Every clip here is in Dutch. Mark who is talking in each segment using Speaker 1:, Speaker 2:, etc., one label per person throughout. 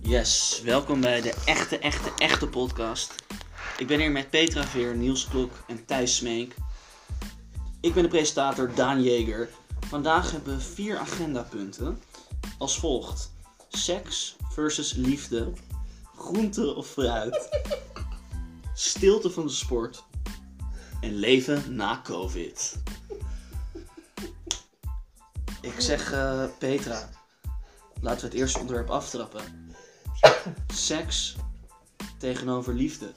Speaker 1: Yes, welkom bij de echte, echte, echte podcast. Ik ben hier met Petra Veer, Niels Klok en Thijs Smeek. Ik ben de presentator Daan Jeger. Vandaag hebben we vier agendapunten. Als volgt. Seks versus liefde. Groente of fruit. Stilte van de sport. En leven na COVID. Ik zeg eh, Petra, laten we het eerste onderwerp aftrappen. Seks tegenover liefde.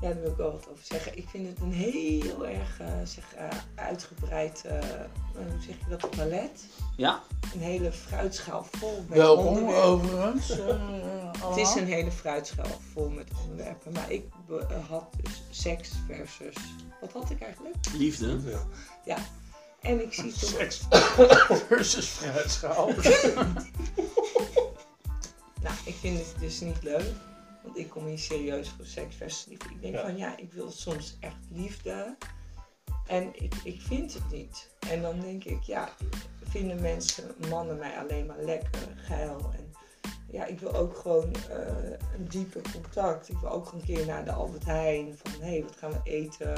Speaker 2: Ja, daar wil ik wel wat over zeggen. Ik vind het een heel erg eh, zeg, eh, uitgebreid, eh, hoe zeg je dat, palet.
Speaker 1: Ja?
Speaker 2: Een hele fruitschaal vol met
Speaker 3: Welkom
Speaker 2: onderwerpen.
Speaker 3: overigens. eh, allemaal.
Speaker 2: Het is een hele fruitschaal vol met onderwerpen. Maar ik be- eh, had dus seks versus, wat had ik eigenlijk?
Speaker 1: Liefde.
Speaker 3: Ja.
Speaker 2: Ja. En ik zie toch...
Speaker 3: Seks versus fruitschaal.
Speaker 2: Nou, ik vind het dus niet leuk. Want ik kom hier serieus voor seks versus liefde. Ik denk
Speaker 3: Ja.
Speaker 2: van ja, ik wil soms echt liefde. En ik, ik vind het niet. En dan denk ik, ja, vinden mensen, mannen mij alleen maar lekker, geil. En ja, ik wil ook gewoon eh, een dieper contact. Ik wil ook gewoon een keer naar de Albert Heijn. Van hé, hey, wat gaan we eten?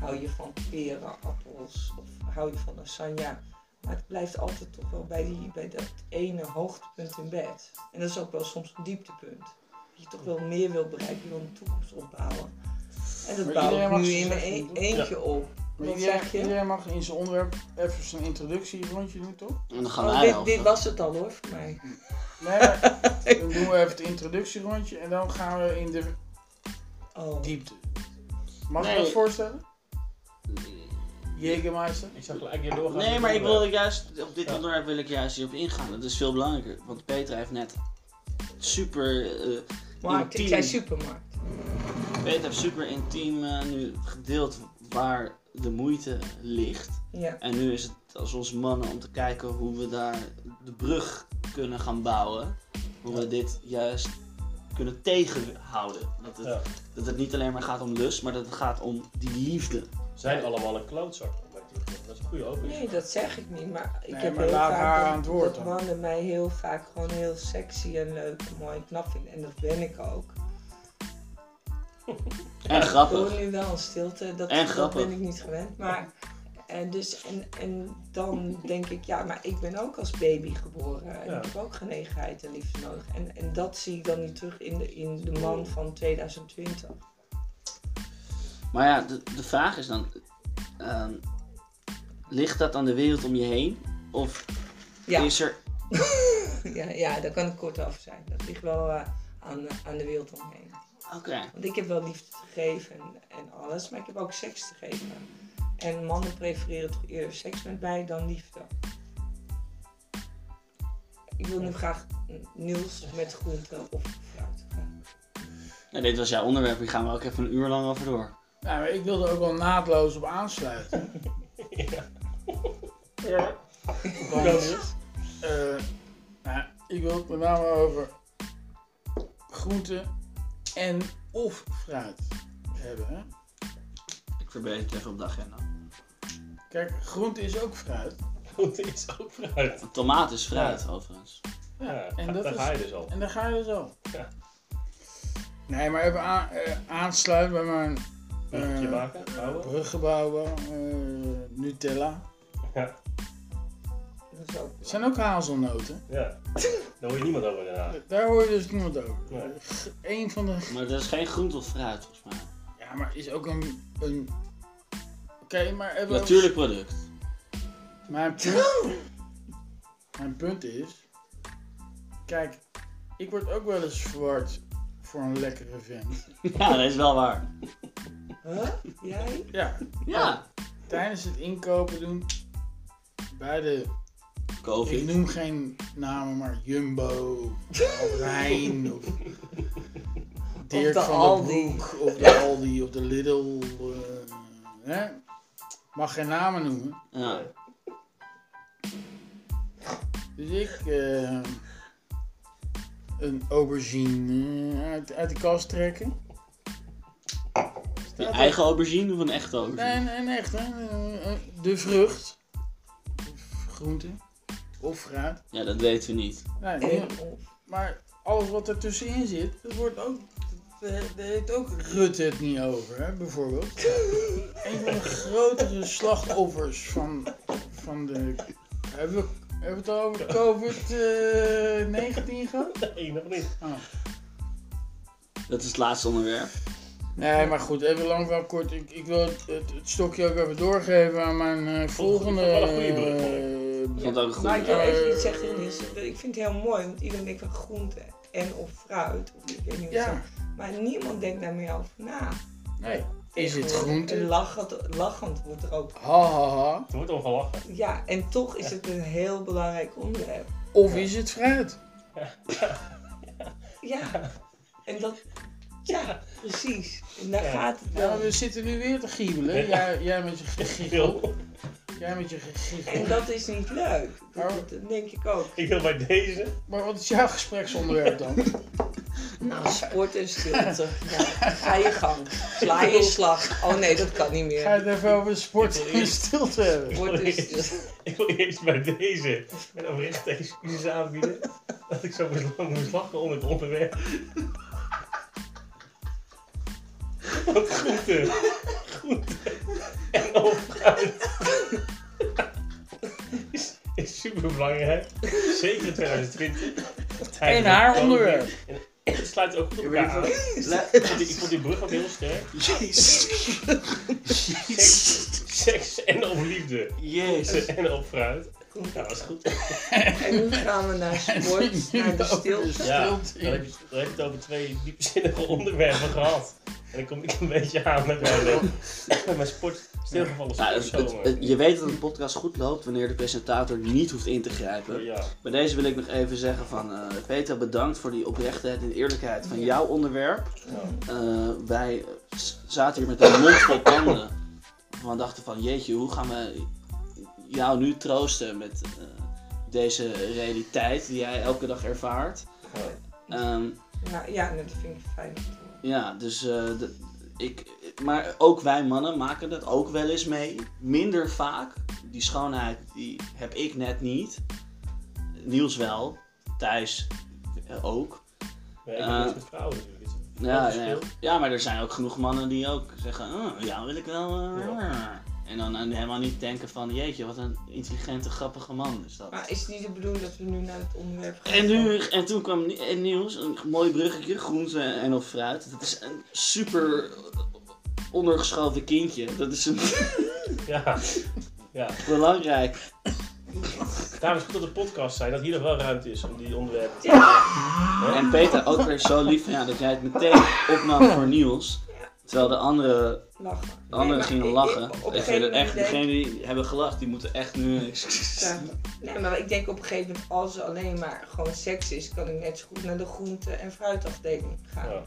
Speaker 2: Hou je van peren, appels? Of hou je van lasagne? Maar het blijft altijd toch wel bij, die, bij dat ene hoogtepunt in bed. En dat is ook wel soms een dieptepunt. Dat je toch wel meer wilt bereiken, je wil een toekomst opbouwen. En dat
Speaker 3: Maar
Speaker 2: bouw
Speaker 3: iedereen
Speaker 2: ik
Speaker 3: mag
Speaker 2: nu
Speaker 3: zijn
Speaker 2: in mijn
Speaker 3: zeg
Speaker 2: e-
Speaker 3: doen.
Speaker 2: eentje op. Wat
Speaker 3: Iedereen,
Speaker 2: zeg je?
Speaker 3: iedereen mag in zijn onderwerp even zijn introductie rondje doen, toch?
Speaker 1: En dan gaan
Speaker 2: Oh,
Speaker 1: wij
Speaker 2: dit, dit
Speaker 1: helpen.
Speaker 2: was het al hoor, voor mij.
Speaker 3: Nee, maar dan doen we even het introductierondje en dan gaan we in de
Speaker 2: Oh.
Speaker 3: diepte. Mag
Speaker 1: Nee.
Speaker 3: je dat voorstellen? Jägermeister?
Speaker 4: Ik zag gelijk weer doorgaan.
Speaker 1: Nee, maar ik wil juist, op dit
Speaker 4: Ja.
Speaker 1: onderwerp wil ik juist hierop ingaan. Dat is veel belangrijker. Want Petra heeft net super, eh,
Speaker 2: Markt, ik
Speaker 1: intiem-
Speaker 2: zei supermarkt.
Speaker 1: Petra heeft super intiem eh, nu gedeeld waar de moeite ligt.
Speaker 2: Ja.
Speaker 1: En nu is het als ons mannen om te kijken hoe we daar de brug kunnen gaan bouwen. Hoe we dit juist kunnen tegenhouden. Dat het,
Speaker 4: Ja.
Speaker 1: dat het niet alleen maar gaat om lust, maar dat het gaat om die liefde.
Speaker 4: Zijn allemaal een klootzak. Dat is een goede opening.
Speaker 2: Nee, dat zeg ik niet, maar ik
Speaker 3: Nee,
Speaker 2: heb
Speaker 3: maar
Speaker 2: heel
Speaker 3: laat
Speaker 2: vaak
Speaker 3: haar
Speaker 2: dat-
Speaker 3: aan het woord
Speaker 2: dat
Speaker 3: dan.
Speaker 2: mannen mij heel vaak gewoon heel sexy en leuk en mooi en knap vinden. En dat ben ik ook.
Speaker 1: En
Speaker 2: Ik hoor
Speaker 1: grappig.
Speaker 2: nu wel een stilte, dat,
Speaker 1: En
Speaker 2: dat
Speaker 1: grappig.
Speaker 2: ben ik niet gewend. Maar, en, dus, en, en dan denk ik, ja, maar ik ben ook als baby geboren. En
Speaker 4: Ja.
Speaker 2: ik heb ook genegenheid en liefde nodig. En, en dat zie ik dan niet terug in de, in de man van 2020.
Speaker 1: Maar ja, de, de vraag is dan: ehm, ligt dat aan de wereld om je heen? Of
Speaker 2: Ja,
Speaker 1: is er.
Speaker 2: ja, ja daar kan ik kort over zijn. Dat ligt wel eh, aan, aan de wereld omheen.
Speaker 1: Oké.
Speaker 2: Want ik heb wel liefde te geven en, en alles, maar ik heb ook seks te geven. En mannen prefereren toch eerder seks met mij dan liefde. Ik wil nu graag Niels met groente of fruit. gaan.
Speaker 1: Nou, dit was jouw onderwerp, hier gaan we ook even een uur lang over door.
Speaker 3: Nou, maar ik wil er ook wel naadloos op aansluiten.
Speaker 4: Ja.
Speaker 3: Want, eh, nou, ik wil het met name over groente en of fruit hebben. Hè?
Speaker 1: Ik verbeter het even op de agenda.
Speaker 3: Kijk, groente is ook fruit.
Speaker 4: Goed, is ook fruit.
Speaker 1: Tomaat is fruit, overigens.
Speaker 4: Ja,
Speaker 3: en dat
Speaker 4: daar
Speaker 3: is-
Speaker 4: ga je dus al.
Speaker 3: En dan ga je dus al.
Speaker 4: Ja.
Speaker 3: Nee, maar even aan, eh, aansluiten bij mijn
Speaker 4: Bruggetje
Speaker 3: eh,
Speaker 4: maken, bouwen.
Speaker 3: bruggebouwen, eh, Nutella.
Speaker 4: Ja,
Speaker 2: Dat is ook
Speaker 3: Het zijn ook hazelnoten.
Speaker 4: ja. Daar hoor je niemand over daarna.
Speaker 3: Daar hoor je dus niemand over.
Speaker 4: Nee.
Speaker 3: Eén van de...
Speaker 1: Maar dat is geen groente of fruit, volgens mij.
Speaker 3: Ja, maar is ook een... een... Oké, maar even...
Speaker 1: Natuurlijk product.
Speaker 3: Mijn punt, mijn punt is. Kijk, ik word ook wel eens verward voor een lekkere vent.
Speaker 1: Ja, dat is wel waar.
Speaker 2: Huh? Jij?
Speaker 3: Ja,
Speaker 1: Ja.
Speaker 3: tijdens het inkopen doen. Bij de. Ik
Speaker 1: Covid.
Speaker 3: noem geen namen, maar Jumbo, Rijn of. Dirk
Speaker 2: de
Speaker 3: van
Speaker 2: Aldi.
Speaker 3: der Broek of de Aldi of de Lidl. eh, hè? Mag geen namen noemen.
Speaker 1: Ja.
Speaker 3: Dus ik eh, een aubergine eh, uit, uit de kast trekken.
Speaker 1: Je
Speaker 3: Staat er-
Speaker 1: eigen aubergine of een echte
Speaker 3: Nee,
Speaker 1: aubergine?
Speaker 3: nee, nee, echt. Hè? Eh, eh, De vrucht. Of Groente. Of fruit.
Speaker 1: Ja, dat weten we niet.
Speaker 3: Nee,
Speaker 2: En
Speaker 3: nee,
Speaker 2: of.
Speaker 3: maar alles wat er tussenin zit, dat wordt ook. Daar daar heeft ook Rutte het niet over, hè, bijvoorbeeld. Een van de grotere slachtoffers van, van de. Hebben we, hebben we het al over COVID-19 gehad?
Speaker 4: Nee, nog niet.
Speaker 3: Oh.
Speaker 1: Dat is het laatste onderwerp.
Speaker 3: Nee, maar goed, even lang wel kort. Ik, ik wil het, het- het stokje ook even doorgeven aan mijn eh, volgende.
Speaker 4: wel een goede brug, hoor.
Speaker 1: Ik
Speaker 3: eh,
Speaker 1: vond het ook goed.
Speaker 2: Maar ik wil
Speaker 3: Eh,
Speaker 2: even iets zeggen, Niels. Ik vind het heel mooi, want iedereen denkt aan groente en of fruit. Of ik weet niet hoe het
Speaker 3: ja,
Speaker 2: zegt. Maar niemand denkt daar meer over na.
Speaker 3: nee. Is het groente?
Speaker 2: En lachend, lachend wordt er ook.
Speaker 3: Ha ha ha.
Speaker 4: Er wordt om gelachen.
Speaker 2: Ja, en toch is het een heel belangrijk onderwerp.
Speaker 3: Of is het fruit?
Speaker 2: Ja, en dat. Ja, precies. En daar
Speaker 4: Ja.
Speaker 2: gaat het
Speaker 3: Ja, we
Speaker 2: wel.
Speaker 3: zitten nu weer te giebelen. Jij, jij met je gegiegel.
Speaker 4: Wil-
Speaker 3: Jij met je gegiegel.
Speaker 2: En dat is niet leuk.
Speaker 3: Maar-
Speaker 2: Dat, dat denk ik ook.
Speaker 4: Ik wil bij deze.
Speaker 3: Maar wat is jouw gespreksonderwerp dan?
Speaker 2: Nou, sport en stilte. Ja, ga je gang. Sla je slag. Oh nee, dat kan niet
Speaker 3: Ga
Speaker 2: meer. dus-
Speaker 3: het even over sport en stilte hebben.
Speaker 2: Sport en stilte.
Speaker 4: Ik wil eerst bij deze en oprecht excuses aanbieden. Dat ik zo moest lang moest lachen om het onderwerp. Wat groente. Groente. En opruimd. Is, is super belangrijk. Zeker in 2020.
Speaker 3: En haar onderwerp.
Speaker 4: En het sluit ook goed op elkaar aan. Ik vond die- Ik vond die brug ook heel sterk.
Speaker 1: Jezus. Jezus.
Speaker 4: Seks en op liefde.
Speaker 1: Jezus.
Speaker 4: En op fruit. Nou, dat is goed.
Speaker 2: En nu gaan we naar sport, naar de stilte.
Speaker 4: Ja, dan
Speaker 3: Stilte.
Speaker 4: heb, je, dan heb je het over twee diepzinnige onderwerpen gehad. En dan kom ik een beetje aan met mijn, eh, met mijn sport stilgevallen
Speaker 1: Nou, het- het-
Speaker 4: sportzomer.
Speaker 1: het- je weet dat een podcast goed loopt wanneer de presentator niet hoeft in te grijpen.
Speaker 4: Ja,
Speaker 1: Bij deze wil ik nog even zeggen van eh, Peter, bedankt voor die oprechtheid en eerlijkheid van jouw onderwerp. Eh, wij s- zaten hier met een mond vol tanden. We dachten van jeetje, hoe gaan we jou nu troosten met eh, deze realiteit die jij elke dag ervaart.
Speaker 4: ja.
Speaker 1: Ehm,
Speaker 2: Nou ja, dat vind ik fijn. om te horen.
Speaker 1: ja, dus eh, de- ik, maar ook wij mannen maken dat ook wel eens mee. Minder vaak. Die schoonheid die heb ik net niet. Niels wel. Thijs eh, ook.
Speaker 4: Maar ik ben
Speaker 1: Eh,
Speaker 4: niet met vrouwen natuurlijk. Het is een
Speaker 1: Ja,
Speaker 4: verschil.
Speaker 1: ja. ja, maar er zijn ook genoeg mannen die ook zeggen, oh, ja wil ik wel. eh, En dan eh, helemaal niet denken van, jeetje, wat een intelligente, grappige man is dat.
Speaker 2: Maar is het niet de bedoeling dat we nu naar het onderwerp gaan?
Speaker 1: En, nu, en toen kwam ni- en nieuws, een mooi bruggetje, groente en of fruit. Dat is een super ondergeschoven kindje. Dat is een
Speaker 4: ja. ja.
Speaker 1: belangrijk.
Speaker 4: Daarom is het goed dat de podcast zijn, dat hier nog wel ruimte is om die onderwerpen te
Speaker 1: En Peter, ook weer zo lief van jou dat jij het meteen opnam voor nieuws. Terwijl de anderen
Speaker 2: Lachen.
Speaker 1: de anderen
Speaker 2: Nee,
Speaker 1: gingen
Speaker 2: maar
Speaker 1: lachen.
Speaker 2: ik- ik- op een
Speaker 1: Echt,
Speaker 2: gegeven moment
Speaker 1: echt,
Speaker 2: denk-
Speaker 1: degenen die hebben gelacht, die moeten echt nu...
Speaker 2: Ja. Nee, maar ik denk op een gegeven moment, als er alleen maar gewoon seks is, kan ik net zo goed naar de groente- en fruitafdeling gaan.
Speaker 4: Ja.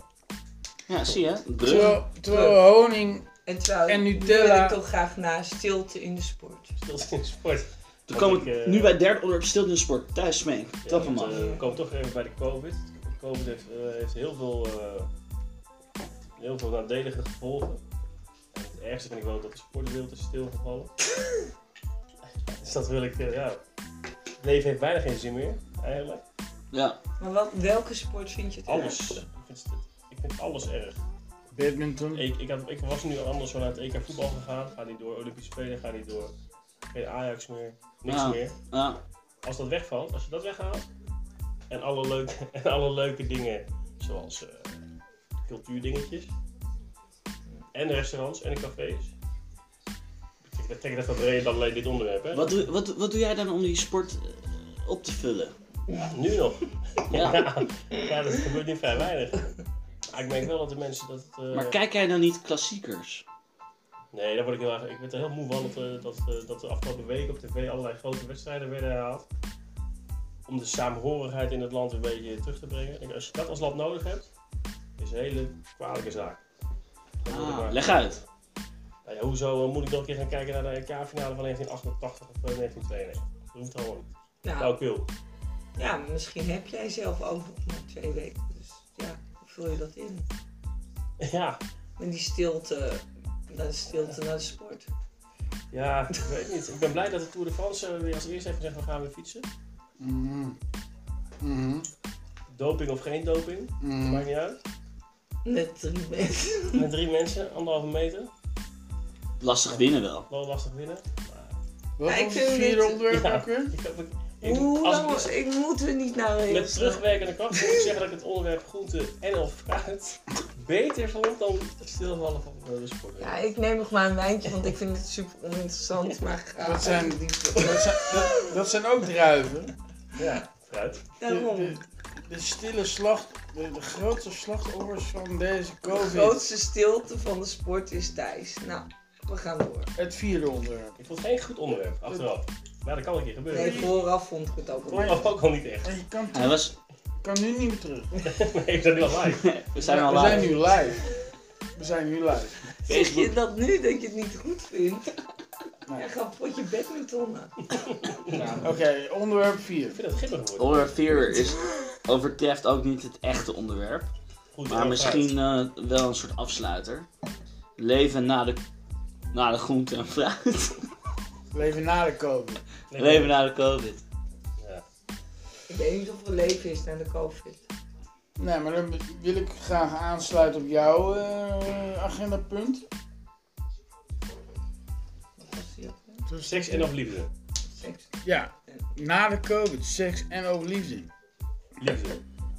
Speaker 1: Ja, zie je? Het brug.
Speaker 3: Terwijl, terwijl honing.
Speaker 2: En terwijl
Speaker 3: En
Speaker 2: nu
Speaker 3: Nutella.
Speaker 2: wil ik toch graag naar stilte in de sport.
Speaker 4: stilstaan in sport.
Speaker 1: Toen
Speaker 4: Want
Speaker 1: komen
Speaker 4: ik,
Speaker 1: we
Speaker 4: eh,
Speaker 1: nu bij het derde onderwerp stilte in de sport. Thijs Smeen.
Speaker 4: Ja,
Speaker 1: Toffe
Speaker 4: want,
Speaker 1: man.
Speaker 4: eh, we komen toch even bij de COVID. COVID heeft, eh, heeft heel veel, eh, heel veel nadelige gevolgen. En het ergste vind ik wel dat de sportwereld is stilgevallen. dus dat wil ik, eh, ja. Het leven heeft bijna geen zin meer, eigenlijk.
Speaker 1: Ja.
Speaker 2: Maar wat, welke sport vind je het
Speaker 4: Alles.
Speaker 2: erg?
Speaker 4: Ik vind, het- ik vind alles erg.
Speaker 3: Badminton.
Speaker 4: Ik, ik, had, ik was nu anders wel naar het EK voetbal gegaan. Ga niet door Olympische Spelen, ga niet door. Geen Ajax meer, niks
Speaker 1: Ja.
Speaker 4: meer.
Speaker 1: ja.
Speaker 4: als dat wegvalt, als je dat weghaalt, en alle leuke, en alle leuke dingen, zoals eh, cultuurdingetjes, en restaurants en cafés. Kijk, dat trek dat wat breder dan alleen dit onderwerp, hè?
Speaker 1: Wat doe, wat, wat doe jij dan om die sport eh, op te vullen?
Speaker 4: Ja, nu nog.
Speaker 1: Ja.
Speaker 4: Ja. dat gebeurt niet vrij weinig. Maar ik merk wel dat de mensen dat... eh,
Speaker 1: Maar kijk jij dan niet klassiekers?
Speaker 4: Nee, daar word ik heel erg... Ik werd er heel moe van dat, eh, dat, eh, dat de afgelopen weken op tv allerlei grote wedstrijden werden herhaald. Om de saamhorigheid in het land een beetje terug te brengen. Ik- Als je dat als land nodig hebt, is een hele kwalijke zaak. Dan word ik
Speaker 1: Ah,
Speaker 4: maar-
Speaker 1: leg uit.
Speaker 4: Nou ja, hoezo eh, moet ik dan een keer gaan kijken naar de EK-finale van 1988 of eh, 1992? Dat hoeft allemaal niet.
Speaker 2: Nou,
Speaker 4: Nou, wil.
Speaker 2: ja, maar misschien heb jij zelf ook nog maar twee weken. Dus ja, hoe vul je dat in?
Speaker 4: Ja,
Speaker 2: En die stilte, naar de stilte naar de sport.
Speaker 4: ja, ik weet niet. Ik ben blij dat de Tour de France eh, weer als eerste heeft gezegd, we gaan weer fietsen.
Speaker 3: Mhm. Mhm.
Speaker 4: Doping of geen doping, maakt
Speaker 3: Mm.
Speaker 4: niet uit.
Speaker 2: Met drie mensen.
Speaker 4: Met drie mensen, anderhalve meter.
Speaker 1: Lastig winnen wel.
Speaker 4: Wel lastig winnen. Maar
Speaker 3: Wat
Speaker 2: Ja, ik
Speaker 3: was het
Speaker 2: vind
Speaker 3: vierde
Speaker 2: dit-
Speaker 3: onderwerp
Speaker 4: Ja.
Speaker 3: ook weer?
Speaker 4: ik heb- ik- ik-
Speaker 2: Hoe
Speaker 4: als
Speaker 2: lang?
Speaker 4: ik-
Speaker 2: Ik moet er niet naar heen.
Speaker 4: Met terugwerkende kracht moet ik zeggen dat ik het onderwerp groente en of fruit beter vond dan het stilvallen van eh, de sport.
Speaker 2: Ja, ik neem nog maar een wijntje, want ik vind het super oninteressant. Maar graag.
Speaker 3: Dat zijn-
Speaker 2: die
Speaker 3: Dat zijn, dat, dat zijn ook druiven.
Speaker 4: Ja, fruit.
Speaker 3: De,
Speaker 2: Daarom.
Speaker 3: de, de stille slacht, de, de grootste slachtoffers van deze
Speaker 2: De
Speaker 3: COVID.
Speaker 2: grootste stilte van de sport is Thijs. Nou, we gaan door.
Speaker 3: Het vierde onderwerp.
Speaker 4: Ik vond het geen goed onderwerp, achteraf. Maar dat kan een keer gebeuren.
Speaker 2: Nee, vooraf vond ik het ook wel.
Speaker 4: Vooraf ook al niet echt.
Speaker 3: En je kan,
Speaker 1: Hij was...
Speaker 3: kan nu niet meer terug.
Speaker 4: Nee, ik ben nu al live.
Speaker 1: We zijn
Speaker 3: Ja,
Speaker 1: al
Speaker 3: we zijn
Speaker 1: live.
Speaker 3: nu live. We zijn nu live.
Speaker 2: Zeg je
Speaker 1: Facebook.
Speaker 2: dat nu dat je het niet goed vindt?
Speaker 3: Nee.
Speaker 2: Ja, ga potje badmintonnen.
Speaker 3: Oké, onderwerp 4.
Speaker 4: Ik vind het gimmig worden.
Speaker 1: Onderwerp 4 is, overtreft ook niet het echte onderwerp.
Speaker 4: Goed,
Speaker 1: Oh, Maar misschien eh, wel een soort afsluiter. Leven na de, na de groente en fruit.
Speaker 3: Leven na de COVID.
Speaker 1: Leven na de covid.
Speaker 4: Ja.
Speaker 2: Ik weet niet of er leven is na de COVID.
Speaker 3: Nee, maar dan wil ik graag aansluiten op jouw eh, agendapunt.
Speaker 2: Wat was die ook weer?
Speaker 4: Seks en of liefde.
Speaker 2: Seks.
Speaker 3: Ja, na de COVID, seks en ook liefde.
Speaker 4: Liefde.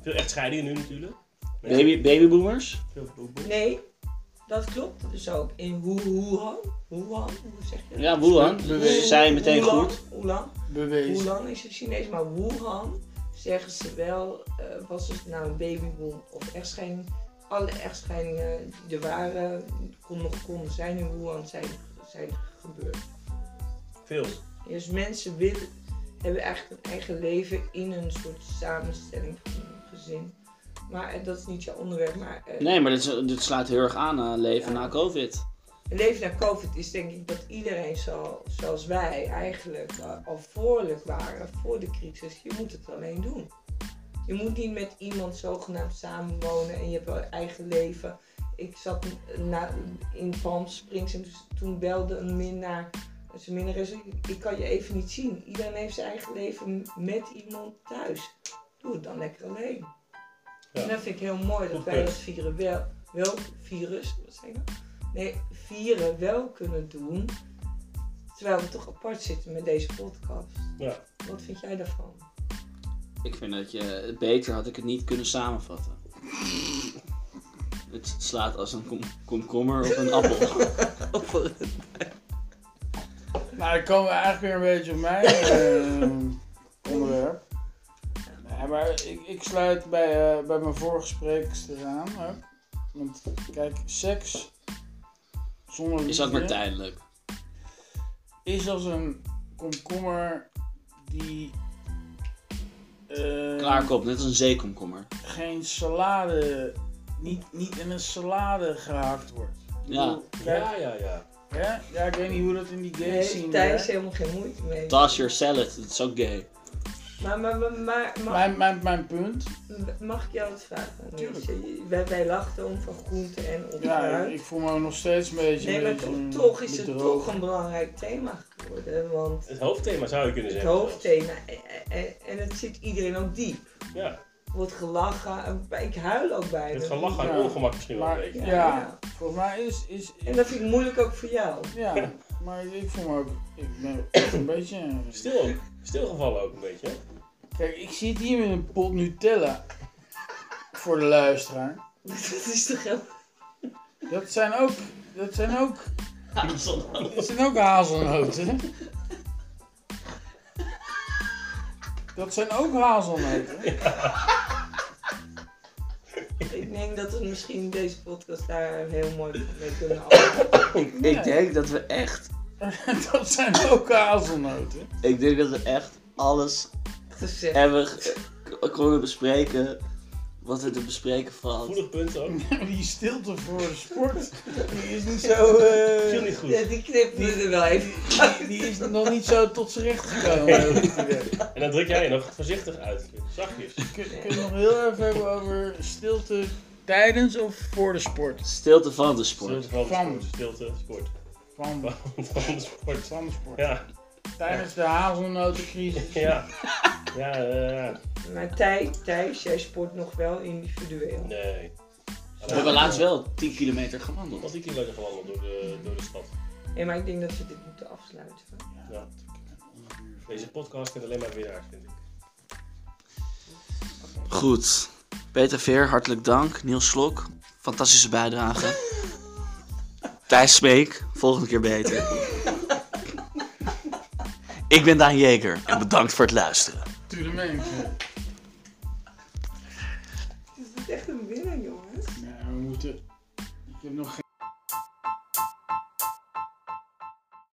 Speaker 4: Veel echt scheidingen nu natuurlijk. Met
Speaker 1: Baby, babyboomers?
Speaker 4: Veel boeboe.
Speaker 2: Nee, dat klopt dus ook. In Wu- Wuhan, Wuhan, hoe zeg je dat?
Speaker 1: Ja, Wuhan.
Speaker 3: Bewegen.
Speaker 1: Ze Zijn meteen
Speaker 2: Wuhan,
Speaker 1: goed.
Speaker 2: Wuhan,
Speaker 3: Bewezen.
Speaker 2: Wuhan is het Chinees, maar Wuhan zeggen ze wel, eh, was het nou een babyboom of echtscheiding. Alle echtscheidingen die er waren, kon nog konden zijn in Wuhan, zijn, zijn gebeurd.
Speaker 4: Veel.
Speaker 2: Dus mensen willen, hebben eigenlijk een eigen leven in een soort samenstelling van een gezin. Maar eh, dat is niet jouw onderwerp, maar eh,
Speaker 1: Nee, maar dit, is- dit sluit heel erg aan eh, leven
Speaker 2: Ja.
Speaker 1: na covid.
Speaker 2: leven na COVID is denk ik dat iedereen zo, zoals wij eigenlijk eh, al voorlijk waren voor de crisis. Je moet het alleen doen. Je moet niet met iemand zogenaamd samenwonen en je hebt wel eigen leven. Ik zat na, in Palm Springs en dus toen belde een minnaar zijn minnares. Ik, ik kan je even niet zien. Iedereen heeft zijn eigen leven met iemand thuis. Doe het dan lekker alleen.
Speaker 4: Ja.
Speaker 2: En dat vind ik heel mooi dat
Speaker 4: Goed
Speaker 2: wij
Speaker 4: punt.
Speaker 2: dat vieren wel, wel virus, wat zeg ik nou? Nee, vieren wel kunnen doen. Terwijl we toch apart zitten met deze podcast.
Speaker 4: Ja.
Speaker 2: Wat vind jij daarvan?
Speaker 1: Ik vind dat je eh, beter had ik het niet kunnen samenvatten. Het slaat als een kom- komkommer op een appel.
Speaker 3: Nou, dan komen we eigenlijk weer een beetje op mijn eh, onderwerp. Nee, maar ik, ik sluit bij, eh, bij mijn vorige spreekster aan. Ook. Want kijk, seks zonder
Speaker 1: Is dat maar
Speaker 3: liefde
Speaker 1: tijdelijk?
Speaker 3: is als een komkommer die eh,
Speaker 1: Klaarkop, net als een zeekomkommer.
Speaker 3: geen salade, niet, niet in een salade gehakt wordt. Ik
Speaker 1: Ja.
Speaker 3: bedoel, Kijk,
Speaker 4: Ja, ja, ja.
Speaker 3: ja. ja, ik weet niet hoe dat in die game
Speaker 2: Nee,
Speaker 3: scene
Speaker 2: Thijs
Speaker 3: werkt.
Speaker 2: helemaal geen moeite mee.
Speaker 1: Toss your salad, dat is ook gay.
Speaker 2: Maar, maar, maar, maar, maar-
Speaker 3: Mijn, mijn, mijn punt
Speaker 2: mag ik jou wat vragen?
Speaker 3: Tuurlijk.
Speaker 2: Je- Wij, wij lachten om van groente en om
Speaker 3: Ja,
Speaker 2: fruit.
Speaker 3: ik voel me nog steeds een beetje.
Speaker 2: Nee, maar
Speaker 3: een beetje
Speaker 2: toch, toch is het
Speaker 3: bedrogen.
Speaker 2: toch een belangrijk thema geworden. Want
Speaker 4: Het hoofdthema zou je kunnen
Speaker 2: het
Speaker 4: zeggen.
Speaker 2: hoofdthema, en, en, en het zit iedereen ook diep.
Speaker 4: Ja.
Speaker 2: Wordt gelachen, en ik huil ook bij.
Speaker 4: Het
Speaker 2: me.
Speaker 4: gelach en
Speaker 3: Ja.
Speaker 4: ongemak misschien wel een
Speaker 3: Maar-
Speaker 4: beetje.
Speaker 3: Ja. Volgens mij is. is
Speaker 2: En dat vind ik moeilijk ook voor jou.
Speaker 3: ja, maar ik voel me ook. Ik ben echt een beetje.
Speaker 4: Stil ook. Stilgevallen ook een beetje. hè?
Speaker 3: Kijk, ik zit hier in een pot Nutella. Voor de luisteraar.
Speaker 2: Dat is toch heel...
Speaker 3: Dat zijn ook. Dat zijn ook.
Speaker 1: Hazelnoot.
Speaker 3: Dat zijn ook hazelnoten. Dat zijn ook hazelnoten.
Speaker 2: Ik denk dat we misschien deze podcast daar heel mooi mee kunnen afsluiten.
Speaker 1: Ik denk dat we echt,
Speaker 3: Dat zijn ook hazelnoten.
Speaker 1: ik denk dat we echt alles
Speaker 2: gezegd.
Speaker 1: hebben ge- konden bespreken wat er te bespreken valt.
Speaker 4: Voelig punt ook.
Speaker 3: Die stilte voor de sport. Die is niet zo. eh,
Speaker 4: Viel niet goed.
Speaker 2: Ja, die knippen we er wel even.
Speaker 3: Die, die is nog niet zo tot z'n recht gekomen. heb ik het idee.
Speaker 4: En dan druk jij je nog voorzichtig uit. Zachtjes.
Speaker 3: Kun- Kun je het nog heel even hebben over stilte tijdens of voor de sport?
Speaker 1: Stilte van de
Speaker 4: Stilte
Speaker 1: sport.
Speaker 4: van de
Speaker 3: Van.
Speaker 4: sport. Stilte, sport.
Speaker 3: Van de,
Speaker 4: Van de sport.
Speaker 3: van de sport.
Speaker 4: Ja.
Speaker 3: Tijdens de hazelnotencrisis.
Speaker 4: Ja. Ja, eh, ja.
Speaker 2: Maar Thij, Thijs, jij sport nog wel individueel.
Speaker 4: Nee.
Speaker 1: We hebben laatst wel 10 kilometer gewandeld.
Speaker 4: Wat ik hier lekker gewandeld door de, door de stad.
Speaker 2: Nee, maar ik denk dat we dit moeten afsluiten.
Speaker 4: Ja. Deze podcast kent alleen maar winnaars, vind ik.
Speaker 1: Goed. Peter Veer, hartelijk dank. Niels Slok, fantastische bijdrage. Thijs Smeek, volgende keer beter. Ik ben Daan Jeker en bedankt voor het luisteren.
Speaker 3: Tuurlijk meen ik het.
Speaker 2: Het is echt een winnaar, jongens.
Speaker 3: Nou, we moeten... Ik heb nog geen...